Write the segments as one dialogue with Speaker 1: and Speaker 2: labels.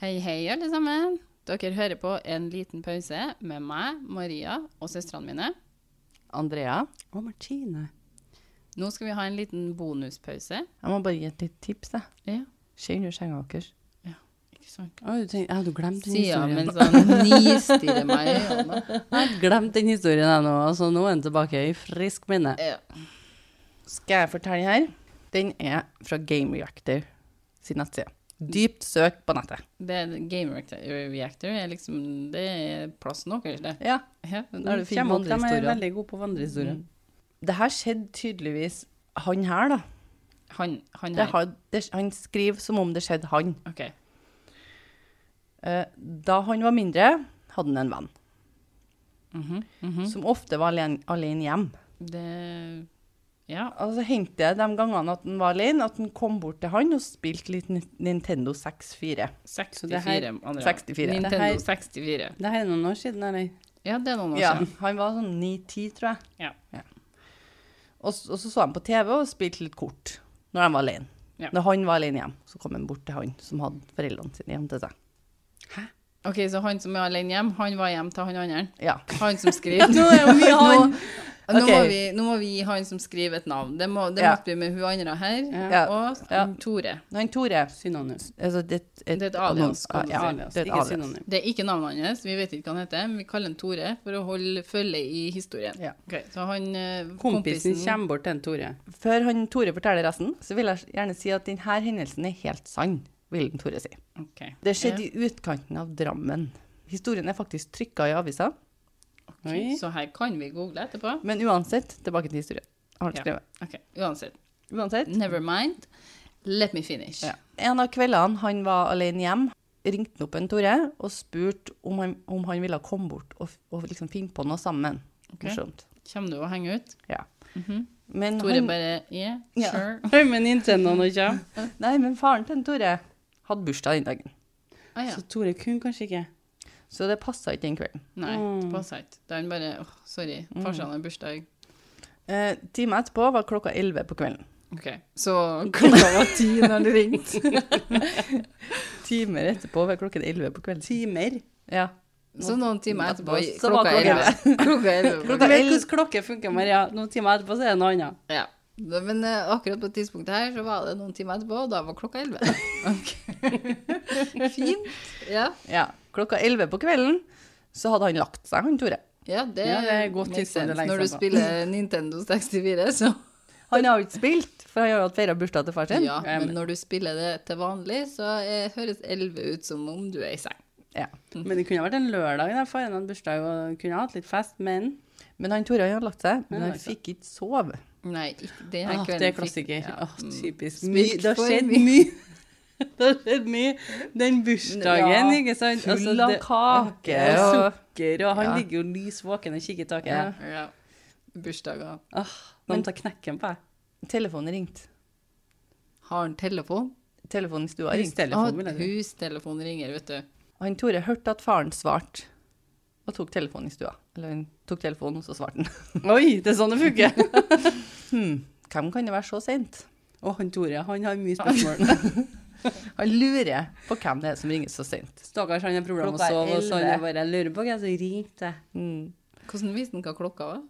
Speaker 1: Hei, hei, alle sammen. Dere hører på En liten pause med meg, Maria og søstrene mine.
Speaker 2: Andrea,
Speaker 3: Og Martine.
Speaker 1: Nå skal vi ha en liten bonuspause.
Speaker 2: jeg må bare gi et litt tips. Jeg.
Speaker 1: Ja,
Speaker 2: Skjønn under senga deres.
Speaker 1: ikke sant?
Speaker 3: Å, du tenker, jeg hadde glemt den
Speaker 1: Sier han
Speaker 3: historien.
Speaker 1: mens han nistirrer meg i øynene.
Speaker 3: Jeg hadde glemt den historien jeg nå. Altså, nå er den tilbake i frisk minne.
Speaker 1: Ja.
Speaker 2: Skal jeg fortelle den her? Den er fra Game Reactor sin nettside. Dypt søk på nettet.
Speaker 1: Det er Game Reactor, reactor er liksom, det er plassen deres, det.
Speaker 2: Ja,
Speaker 1: Ja,
Speaker 2: da er det fin
Speaker 3: Kommer opp, de er
Speaker 2: vandrehistorie. Mm.
Speaker 3: veldig gode på vandrehistorier.
Speaker 2: Det her skjedde tydeligvis han her, da.
Speaker 1: Han, han
Speaker 2: Det
Speaker 1: her.
Speaker 2: har, det, han skriver som om det skjedde han.
Speaker 1: Ok.
Speaker 2: Eh, Da han var mindre, hadde han en venn,
Speaker 1: Mhm, mhm.
Speaker 2: som ofte var alene, alene hjem.
Speaker 1: Det, ja.
Speaker 2: Altså hendte det de gangene at han var alene, at han kom bort til han og spilte litt Ni- Nintendo 64.
Speaker 1: 64,
Speaker 3: det her-
Speaker 1: Andrea.
Speaker 2: 64.
Speaker 1: Nintendo
Speaker 3: Det her-
Speaker 1: 64.
Speaker 3: Det her er noen år siden, eller?
Speaker 1: Ja, det er noen år
Speaker 2: Ja,
Speaker 1: siden.
Speaker 2: han var sånn 9-10, tror jeg.
Speaker 1: Ja.
Speaker 2: Og, s- og så så han på TV og spilte litt kort når de var alene.
Speaker 1: Ja.
Speaker 2: Når han var alene hjem, så kom han bort til han som hadde foreldrene sine hjem til seg.
Speaker 1: Ok, så han som er alene hjem, han var hjem til han andre.
Speaker 2: Ja.
Speaker 1: Han som skriver. nå,
Speaker 2: er jo mye han. Ok.
Speaker 1: må vi, nå må vi gi han som skriver et navn. Det, må, det
Speaker 2: Ja.
Speaker 1: måtte bli med hun andre her.
Speaker 2: Ja.
Speaker 1: Og
Speaker 2: Ja.
Speaker 1: Tore.
Speaker 2: Han Tore
Speaker 3: Synonyms.
Speaker 2: altså, det, er
Speaker 1: Det er et alias, kan du
Speaker 2: Ja,
Speaker 1: si.
Speaker 2: det er et
Speaker 3: Ikke
Speaker 2: alias.
Speaker 3: synonym.
Speaker 1: Det er ikke navnet hans, vi vet ikke hva han heter, men vi kaller han Tore for å holde følge i historien.
Speaker 2: Ja.
Speaker 1: Ok, så han eh,
Speaker 3: Kompisen kommer bort til en Tore.
Speaker 2: Før han Tore forteller resten, så vil jeg gjerne si at denne hendelsen er helt sann, vil den Tore si.
Speaker 1: Ok.
Speaker 2: Det skjedde i utkanten av Drammen. Historien er faktisk trykka i avisa,
Speaker 3: Oi.
Speaker 1: Så her kan vi google etterpå.
Speaker 2: men uansett, tilbake til historien. Har han
Speaker 1: Ja.
Speaker 2: skrevet.
Speaker 1: Ok, Uansett.
Speaker 2: Uansett.
Speaker 1: Never mind. Let me finish.
Speaker 2: Ja. En av kveldene han var alene hjem, ringte han opp en Tore og spurte om han, om han ville komme bort og, f- og liksom finne på noe sammen.
Speaker 1: Ok.
Speaker 2: Morsomt.
Speaker 1: Kommer du å henge ut?
Speaker 2: Ja.
Speaker 1: Mhm.
Speaker 2: Men
Speaker 1: Tore
Speaker 2: han,
Speaker 1: bare Yeah,
Speaker 2: Ja.
Speaker 1: sure.
Speaker 3: Oi, men Nintendo nå kommer.
Speaker 2: nei, men faren til en Tore hadde bursdag den dagen,
Speaker 1: Ah, ja.
Speaker 3: Så Tore kunne kanskje ikke.
Speaker 2: så det passa ikke den kvelden.
Speaker 1: Nei, det
Speaker 3: Mm.
Speaker 1: passer ikke. Da er han bare åh, Sorry,
Speaker 2: Mm.
Speaker 1: farsan har bursdag.
Speaker 2: Eh, Timen etterpå var klokka elleve på kvelden.
Speaker 1: Ok, Så klokka var ti når du ringte.
Speaker 2: Timer etterpå var klokken elleve på kvelden.
Speaker 3: Timer.
Speaker 2: Ja.
Speaker 1: Så noen timer etterpå,
Speaker 2: Så var
Speaker 1: klokka
Speaker 2: klokka
Speaker 1: elleve. Klokka elleve.
Speaker 3: Du vet
Speaker 2: el-
Speaker 3: hvordan klokke funker, Maria. Noen timer etterpå så er det noe annet.
Speaker 1: Ja. Da- Men eh, akkurat på tidspunktet her så var det noen timer etterpå, og da var klokka elleve. Ok. Fint. Ja.
Speaker 2: ja. Klokka elleve på kvelden så hadde han lagt seg, han Tore.
Speaker 1: ja, det,
Speaker 3: Ja, det er godt
Speaker 1: makes
Speaker 3: tidspunkt å
Speaker 1: sense.
Speaker 3: legge
Speaker 1: Når du
Speaker 3: seg på.
Speaker 1: spiller Nintendo 64, så
Speaker 2: Han har jo ikke spilt, for han har jo hatt feira bursdag til far sin.
Speaker 1: Ja, men når du spiller det til vanlig, så eh, høres elleve ut som om du er i seng.
Speaker 2: Ja.
Speaker 3: Men det kunne ha vært en lørdag der faren hadde bursdag og kunne ha hatt litt fest, men
Speaker 2: Men han Tore han hadde lagt seg, men
Speaker 3: Han
Speaker 2: han
Speaker 3: lagde seg.
Speaker 2: fikk ikke sove.
Speaker 1: Nei, ikke det her
Speaker 3: ah,
Speaker 1: kvelden
Speaker 3: det er
Speaker 1: fikk-
Speaker 3: klassiker.
Speaker 1: ja.
Speaker 3: Ah, typisk.
Speaker 1: Spilt
Speaker 3: Mye- det har
Speaker 1: for
Speaker 3: skjedd
Speaker 1: mye.
Speaker 3: mye. Det har skjedd mye. Den bursdagen,
Speaker 2: Ja,
Speaker 3: ikke sant?
Speaker 2: full
Speaker 3: Altså,
Speaker 2: av
Speaker 3: det-
Speaker 2: kake
Speaker 3: Ja,
Speaker 2: og-
Speaker 3: sukker, og han
Speaker 2: Ja.
Speaker 3: ligger jo lysvåken og kikker i taket.
Speaker 2: Ja.
Speaker 1: Ja. Bursdager.
Speaker 3: Ah,
Speaker 2: Men-
Speaker 3: noen tar knekken på deg.
Speaker 2: Telefonen ringte.
Speaker 1: Har han telefon?
Speaker 2: Telefonen i stua ringte.
Speaker 3: Hustelefonen, vil
Speaker 1: ah,
Speaker 3: jeg si.
Speaker 1: hustelefonen ringer, vet du.
Speaker 2: Han Tore hørte at faren svarte, og tok telefonen i stua. Eller han tok telefonen, og så svarte han.
Speaker 3: Oi, det er sånn det funker.
Speaker 2: Hm, hvem kan det være så seint?
Speaker 3: Og han Tore, han har mye spørsmål.
Speaker 2: Han lurer på hvem det er som ringer så seint.
Speaker 3: Stakkars, han har problemer med å
Speaker 2: Klokka er
Speaker 3: sove, og så han er
Speaker 2: elleve.
Speaker 3: bare jeg lurer på hva som ringte.
Speaker 2: Hm.
Speaker 1: Hvordan visste han hva klokka var?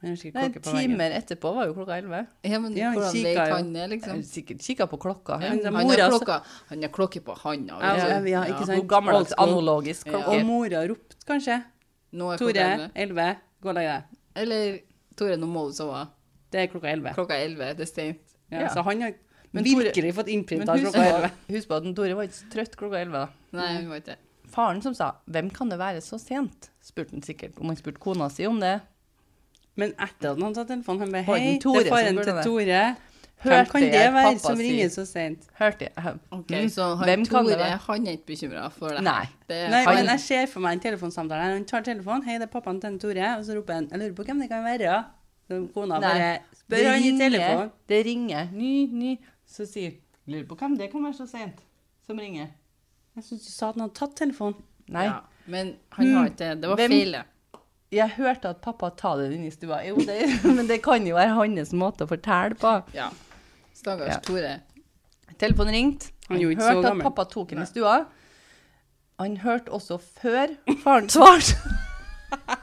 Speaker 3: Han har sikkert
Speaker 2: Nei,
Speaker 3: klokke på veggen.
Speaker 2: timer etterpå var jo klokka elleve.
Speaker 1: Ja, men
Speaker 3: Ja, han
Speaker 1: hvordan
Speaker 3: kikket
Speaker 1: vet
Speaker 3: jo.
Speaker 1: han det,
Speaker 2: Jeg har
Speaker 1: liksom?
Speaker 2: Sikkert kikka på klokka.
Speaker 3: Ja,
Speaker 2: Ja.
Speaker 3: men det er
Speaker 1: Han
Speaker 3: mora
Speaker 1: har
Speaker 3: også-
Speaker 1: klokka, han har klokke på handa.
Speaker 3: Ja,
Speaker 1: vet
Speaker 3: ja,
Speaker 1: du.
Speaker 3: ja, ikke sant?
Speaker 2: God gammeldags
Speaker 3: Old school.
Speaker 2: analogisk
Speaker 1: Ja.
Speaker 2: klokke.
Speaker 3: Og mora ropte kanskje.
Speaker 1: Nå er klokka
Speaker 3: Tore,
Speaker 1: elleve.
Speaker 3: 11, gå og legg deg.
Speaker 1: Eller Tore, nå må du sove.
Speaker 3: Det er klokka 11.
Speaker 1: Klokka er elleve, det er seint.
Speaker 3: Ja,
Speaker 2: Ja.
Speaker 3: Så han har
Speaker 2: Men
Speaker 3: virkelig fått
Speaker 2: Men
Speaker 3: innprinta
Speaker 2: husk
Speaker 3: klokka elleve.
Speaker 2: på, husk på at den Tore var ikke så trøtt klokka elleve. da.
Speaker 1: Nei, han var ikke det.
Speaker 2: Faren som sa 'Hvem kan det være så sent?' spurte han sikkert. Om han spurte kona si om det.
Speaker 3: Men etter at han tatt telefonen, han bare
Speaker 2: Var det
Speaker 3: Hei,
Speaker 2: Tore
Speaker 3: det er faren
Speaker 2: som burde
Speaker 3: til
Speaker 2: det?
Speaker 3: Tore. Hvem
Speaker 2: Hørte
Speaker 3: kan det
Speaker 2: jeg
Speaker 3: være
Speaker 2: pappa
Speaker 3: som
Speaker 2: si?
Speaker 3: ringer så sent?
Speaker 2: Hørte jeg hø-
Speaker 1: Ok,
Speaker 2: Mm.
Speaker 1: Så han
Speaker 2: Hvem kan det
Speaker 1: Tore,
Speaker 2: være?
Speaker 1: han er ikke bekymra for det.
Speaker 2: Nei.
Speaker 1: Det,
Speaker 3: Nei,
Speaker 2: han-
Speaker 3: men jeg ser for meg en telefonsamtale. Han tar telefonen, hei, det er pappaen til Tore, og så roper han, jeg lurer på hvem det kan være. ja. Så kona
Speaker 2: Nei.
Speaker 3: bare
Speaker 2: Det
Speaker 3: spør han i
Speaker 2: ringer,
Speaker 3: telefonen.
Speaker 2: Det ringer. Ny, ny. Så sier Lurer på hvem det kan være så sent som ringer.
Speaker 3: Jeg syns du sa at han hadde tatt telefonen.
Speaker 2: Nei.
Speaker 1: Ja, men han har ikke det.
Speaker 3: Mm.
Speaker 1: Det var
Speaker 2: Hvem-
Speaker 1: feil. det.
Speaker 2: Jeg hørte at pappa tar den inn i stua. Jo, det, men det kan jo være hans måte å fortelle på.
Speaker 1: Ja. Stakkars
Speaker 2: Ja.
Speaker 1: Tore.
Speaker 2: Telefonen ringte.
Speaker 3: Han er jo ikke så
Speaker 2: hørte at
Speaker 3: gammel.
Speaker 2: pappa tok henne i stua. Han hørte også før faren svarte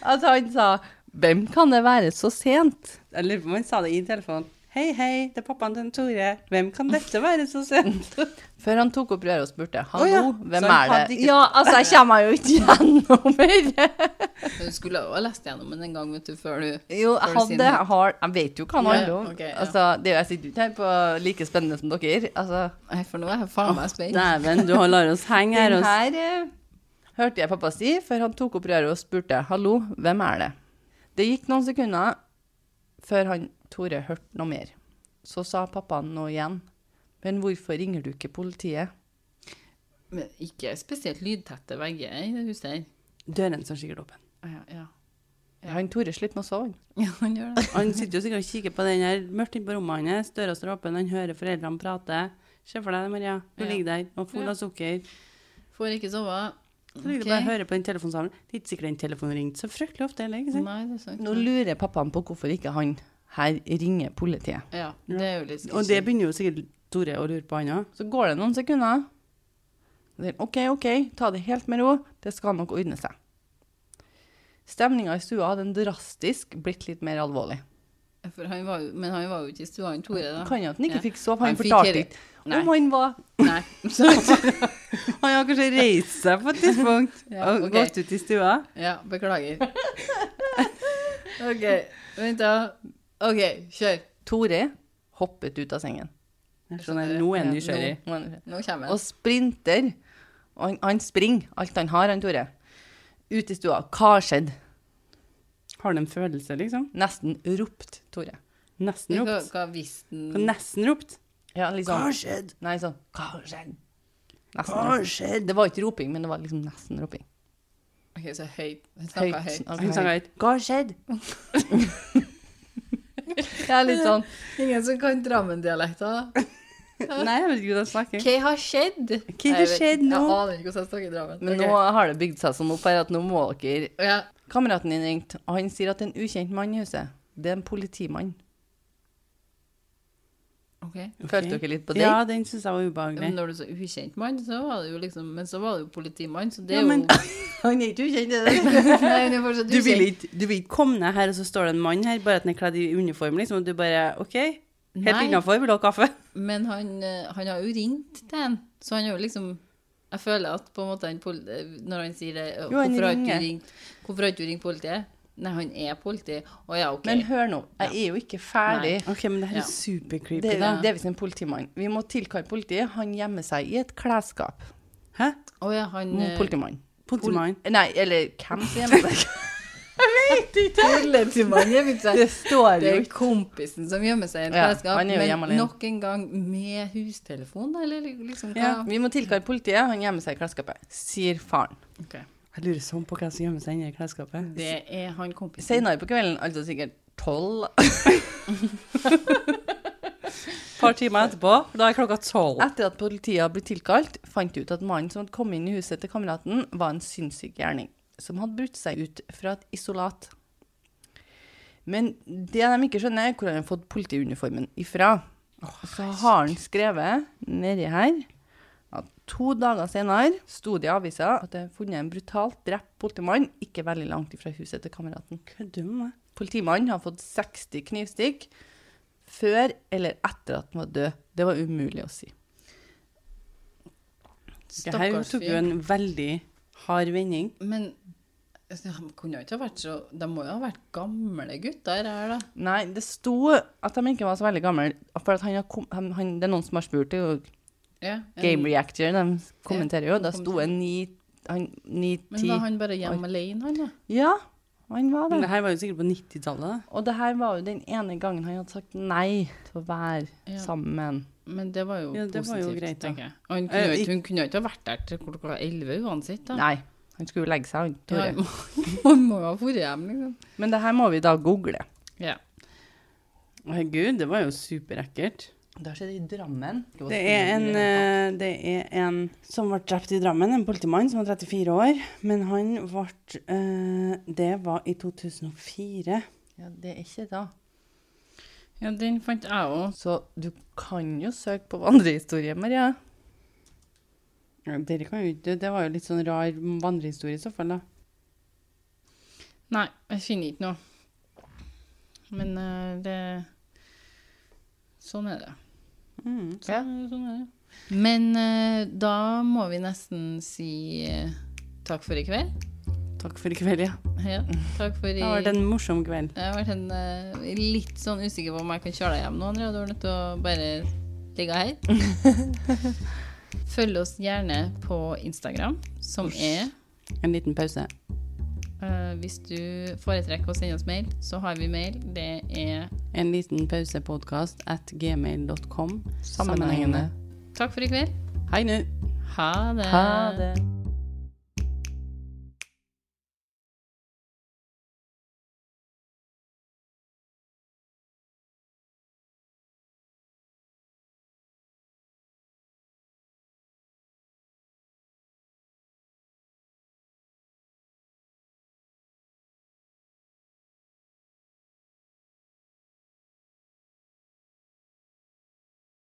Speaker 2: at han sa 'Hvem kan det være så sent?'
Speaker 3: Jeg lurer på om han sa det i telefonen. Hei, hei, det er pappaen til Tore. Hvem kan dette være så sent?
Speaker 2: Før han tok opp røret og spurte 'Hallo,
Speaker 3: Å ja,
Speaker 2: hvem
Speaker 3: så han
Speaker 2: er
Speaker 3: hadde
Speaker 2: det?'
Speaker 3: ikke-
Speaker 2: Ja, altså, jeg kommer meg jo ikke gjennom her.
Speaker 1: Du skulle jo ha lest gjennom den en gang, vet du, før du
Speaker 2: Jo, jeg
Speaker 1: Før
Speaker 2: hadde,
Speaker 1: siden.
Speaker 2: jeg har, jeg vet jo hva han
Speaker 1: Ja,
Speaker 2: handler om.
Speaker 1: ok, ja.
Speaker 2: Altså, det er jo, jeg sitter jo ikke her på like spennende som dere. Altså,
Speaker 1: Nei, for nå er jeg faen meg spent.
Speaker 3: Dæven, du lar oss henge her.
Speaker 2: den
Speaker 3: Og...
Speaker 2: her eh, hørte jeg pappa si før han tok opp røret og spurte 'Hallo, hvem er det?' Det gikk noen sekunder før han Tore hørte noe mer. Så sa pappaen nå igjen. 'Men hvorfor ringer du ikke politiet?'
Speaker 1: Men ikke spesielt lydtette vegger i det huset her.
Speaker 3: Døren står sikkert åpen.
Speaker 1: Ah, Ja, ja.
Speaker 2: Han Tore sliter med å sove.
Speaker 1: ja, han gjør det.
Speaker 3: Han sitter jo sikkert og kikker på den her, mørkt inne på rommet hans. Døra står åpen, han hører foreldrene prate. Se for deg det, Maria. Du
Speaker 1: Ja.
Speaker 3: ligger der og full
Speaker 1: Ja.
Speaker 3: av sukker.
Speaker 1: Får ikke sove.
Speaker 3: Så ligger du
Speaker 1: Ok.
Speaker 3: bare og hører på den telefonsamlen. Det er ikke sikkert den telefonen ringte så fryktelig ofte heller. ikke sant?
Speaker 1: Nei, det er sant.
Speaker 2: Nå lurer pappaen på hvorfor ikke han her ringer politiet.
Speaker 1: Ja, det er jo litt
Speaker 3: Og
Speaker 1: skisje.
Speaker 3: det begynner jo sikkert Tore å lure på, han òg.
Speaker 2: Så går det noen sekunder. Og sier, OK, OK, ta det helt med ro. Det skal nok ordne seg. Stemninga i stua hadde en drastisk blitt litt mer alvorlig.
Speaker 1: For han var jo, men han var jo ikke i stua, han Tore, da.
Speaker 2: Kan jo at han ikke
Speaker 1: Ja.
Speaker 2: fikk sove. Han,
Speaker 1: Han fikk
Speaker 2: fortalte
Speaker 1: hele-
Speaker 2: ikke
Speaker 1: Nei.
Speaker 2: om han var
Speaker 1: Nei. Så,
Speaker 3: Han har kanskje reist seg på et tidspunkt
Speaker 1: Ja,
Speaker 3: og
Speaker 1: ok.
Speaker 3: gått ut i stua.
Speaker 1: ja, beklager. OK, vent, da. OK, kjør.
Speaker 2: Tore hoppet ut av sengen.
Speaker 3: Jeg skjønner, nå er han
Speaker 2: Ja,
Speaker 3: nysgjerrig.
Speaker 2: nå- nå er han nysgjerrig.
Speaker 1: Nå kommer
Speaker 2: Og
Speaker 1: han.
Speaker 2: sprinter. Og han, han springer alt han har, han Tore. Ut i stua. Hva skjedde?
Speaker 3: Har han en følelse, liksom?
Speaker 2: Nesten ropt Tore.
Speaker 3: Nesten
Speaker 1: Hva,
Speaker 3: ropt.
Speaker 1: hva visste
Speaker 3: Og
Speaker 1: han
Speaker 3: Nesten ropt.
Speaker 2: Ja, liksom.
Speaker 3: skjedde?
Speaker 2: Nei, sånn Hva skjedde? Nesten.
Speaker 3: Hva
Speaker 2: ropt.
Speaker 3: skjedde?
Speaker 2: Det var ikke roping, men det var liksom nesten roping.
Speaker 1: OK, så høyt. Han snakket høyt.
Speaker 2: Ok.
Speaker 3: Han sa høyt. sånn.
Speaker 2: Hva skjedde? Det er litt sånn
Speaker 1: Ingen som kan Drammen-dialekter, da?
Speaker 3: Nei, jeg vet ikke hvordan han snakker.
Speaker 1: Hva har skjedd?
Speaker 3: Hva har skjedd nå?
Speaker 1: Jeg aner ikke hvordan jeg snakker i Drammen.
Speaker 2: Men
Speaker 1: Ok.
Speaker 2: nå har det bygd seg sånn opp her at nå må dere
Speaker 1: ja.
Speaker 2: Kameraten din ringte, og han sier at det er en ukjent mann i huset. Det er en politimann.
Speaker 1: OK.
Speaker 2: Følte dere litt på det?
Speaker 3: Ja, den syns jeg var
Speaker 1: Ja, Men
Speaker 3: ubehagelig.
Speaker 1: når du sa ukjent mann, så var det jo liksom Men så var det jo politimann, så det
Speaker 3: Ja,
Speaker 1: er jo
Speaker 3: men-
Speaker 2: Han er ikke ukjent, er det?
Speaker 1: Nei, det er fortsatt
Speaker 3: Du vil,
Speaker 1: ukjent.
Speaker 3: ikke, du vil ikke komme ned her, og så står det en mann her, bare at han er kledd i uniform, liksom, og du bare OK, helt
Speaker 1: Nei.
Speaker 3: innafor, vil du ha kaffe?
Speaker 1: Men han, eh, han har jo ringt til en, så han har jo liksom Jeg føler at på en måte han pol- eh, Når han sier det eh,
Speaker 2: Jo, han
Speaker 1: Hvorfor har ikke
Speaker 2: ringer.
Speaker 1: du ringt Hvorfor har ikke du ringt politiet? Nei, han er politi. Å ja, OK.
Speaker 2: Men hør nå, jeg er jo ikke ferdig.
Speaker 3: OK, men det her
Speaker 1: Ja.
Speaker 3: er supercreepy,
Speaker 2: Det,
Speaker 3: da.
Speaker 2: det er visst en politimann. Vi må tilkalle politiet. Han gjemmer seg i et klesskap.
Speaker 3: Hæ?
Speaker 1: Å ja, han eh,
Speaker 2: Politimann.
Speaker 3: Politimann.
Speaker 2: Nei, eller hvem som gjemmer seg?
Speaker 1: Politimann gjemmer seg.
Speaker 2: Det står
Speaker 1: Det
Speaker 2: jo
Speaker 1: er
Speaker 2: ikke.
Speaker 1: kompisen som gjemmer seg i et
Speaker 2: Ja,
Speaker 1: klesskap,
Speaker 2: han er jo hjemme
Speaker 1: men
Speaker 2: alene.
Speaker 1: nok en gang med hustelefon, eller liksom hva?
Speaker 2: Ja, vi må tilkalle politiet. Han gjemmer seg i klesskapet, sier faren.
Speaker 1: Ok.
Speaker 3: Jeg lurer sånn på hva som gjemmer seg inni det klesskapet.
Speaker 1: Det er han kompisen.
Speaker 2: Senere på kvelden, altså sikkert tolv
Speaker 3: Et par timer etterpå, da er klokka tolv.
Speaker 2: Etter at politiet ble tilkalt, fant de ut at mannen som hadde kommet inn i huset til kameraten, var en sinnssyk gjerning, som hadde brutt seg ut fra et isolat. Men det de ikke skjønner, er hvor han har fått politiuniformen ifra. Så har han skrevet nedi her at to dager senere sto det i avisa at det er funnet en brutalt drept politimann ikke veldig langt ifra huset til kameraten.
Speaker 3: Kødder du med meg?
Speaker 2: Politimannen har fått 60 knivstikk før eller etter at han var død. Det var umulig å si.
Speaker 3: Det her
Speaker 1: Stakkars
Speaker 3: tok jo
Speaker 1: fyr.
Speaker 3: en veldig hard vending.
Speaker 1: Men altså, han kunne jo ikke ha vært så De må jo ha vært gamle gutter her, da.
Speaker 2: Nei, det sto at de ikke var så veldig gamle. For at han har kom, han, han, det er noen som har spurt, det er jo
Speaker 1: Ja, en-
Speaker 2: Game Reactor, de kommenterer jo.
Speaker 1: Ja,
Speaker 2: Da sto en ni, han, ni
Speaker 1: Men
Speaker 2: ti
Speaker 1: var han bare hjemme alene, han, da?
Speaker 2: Ja, han var
Speaker 3: Men
Speaker 2: det.
Speaker 3: det her var jo sikkert på 90-tallet, da.
Speaker 2: Og det her var jo den ene gangen han hadde sagt nei til å være
Speaker 1: Ja.
Speaker 2: sammen med en.
Speaker 1: Men det var jo
Speaker 3: Ja, det var jo
Speaker 1: positivt,
Speaker 3: greit, da.
Speaker 1: tenker jeg. Og han kunne,
Speaker 3: Eh,
Speaker 1: jo
Speaker 3: ikk-
Speaker 1: ikke, hun kunne jo ikke ha vært der til klokka elleve uansett, da.
Speaker 2: Nei, han skulle jo legge seg, han
Speaker 1: Ja,
Speaker 2: Tore.
Speaker 1: han må- han må jo ha dratt hjem, liksom.
Speaker 2: Men det her må vi da google.
Speaker 1: Ja.
Speaker 3: Herregud, det var jo superekkelt.
Speaker 2: Det har skjedd i Drammen.
Speaker 3: Det er, en, eh, det er en som ble drept i Drammen, en politimann som var 34 år. Men han ble eh, Det var i 2004.
Speaker 2: Ja, det er ikke da.
Speaker 1: Ja, den fant jeg òg.
Speaker 2: Så du kan jo søke på vandrehistorie, Maria.
Speaker 3: Ja, dere kan jo ikke Det var jo litt sånn rar vandrehistorie i så fall, da.
Speaker 1: Nei, jeg finner ikke noe. Men eh, det Sånn er det.
Speaker 3: Mm.
Speaker 1: Sånn, sånn er det. Men eh, da må vi nesten si eh, takk for i kveld.
Speaker 3: Takk for i kveld, ja.
Speaker 1: Ja, takk for i
Speaker 3: Det har vært en morsom kveld.
Speaker 1: Jeg har vært en, eh, litt sånn usikker på om jeg kan kjøre deg hjem nå, Andrea. Du er nødt til å bare ligge her. Følg oss gjerne på Instagram, som er
Speaker 3: En liten pause.
Speaker 1: eh, Hvis du foretrekker å sende oss mail, så har vi mail. Det er
Speaker 3: En liten pausepodkast at gmail.com.
Speaker 2: Sammenhengende.
Speaker 1: Takk for i kveld.
Speaker 3: Hei nå.
Speaker 1: Ha det.
Speaker 2: Ha det.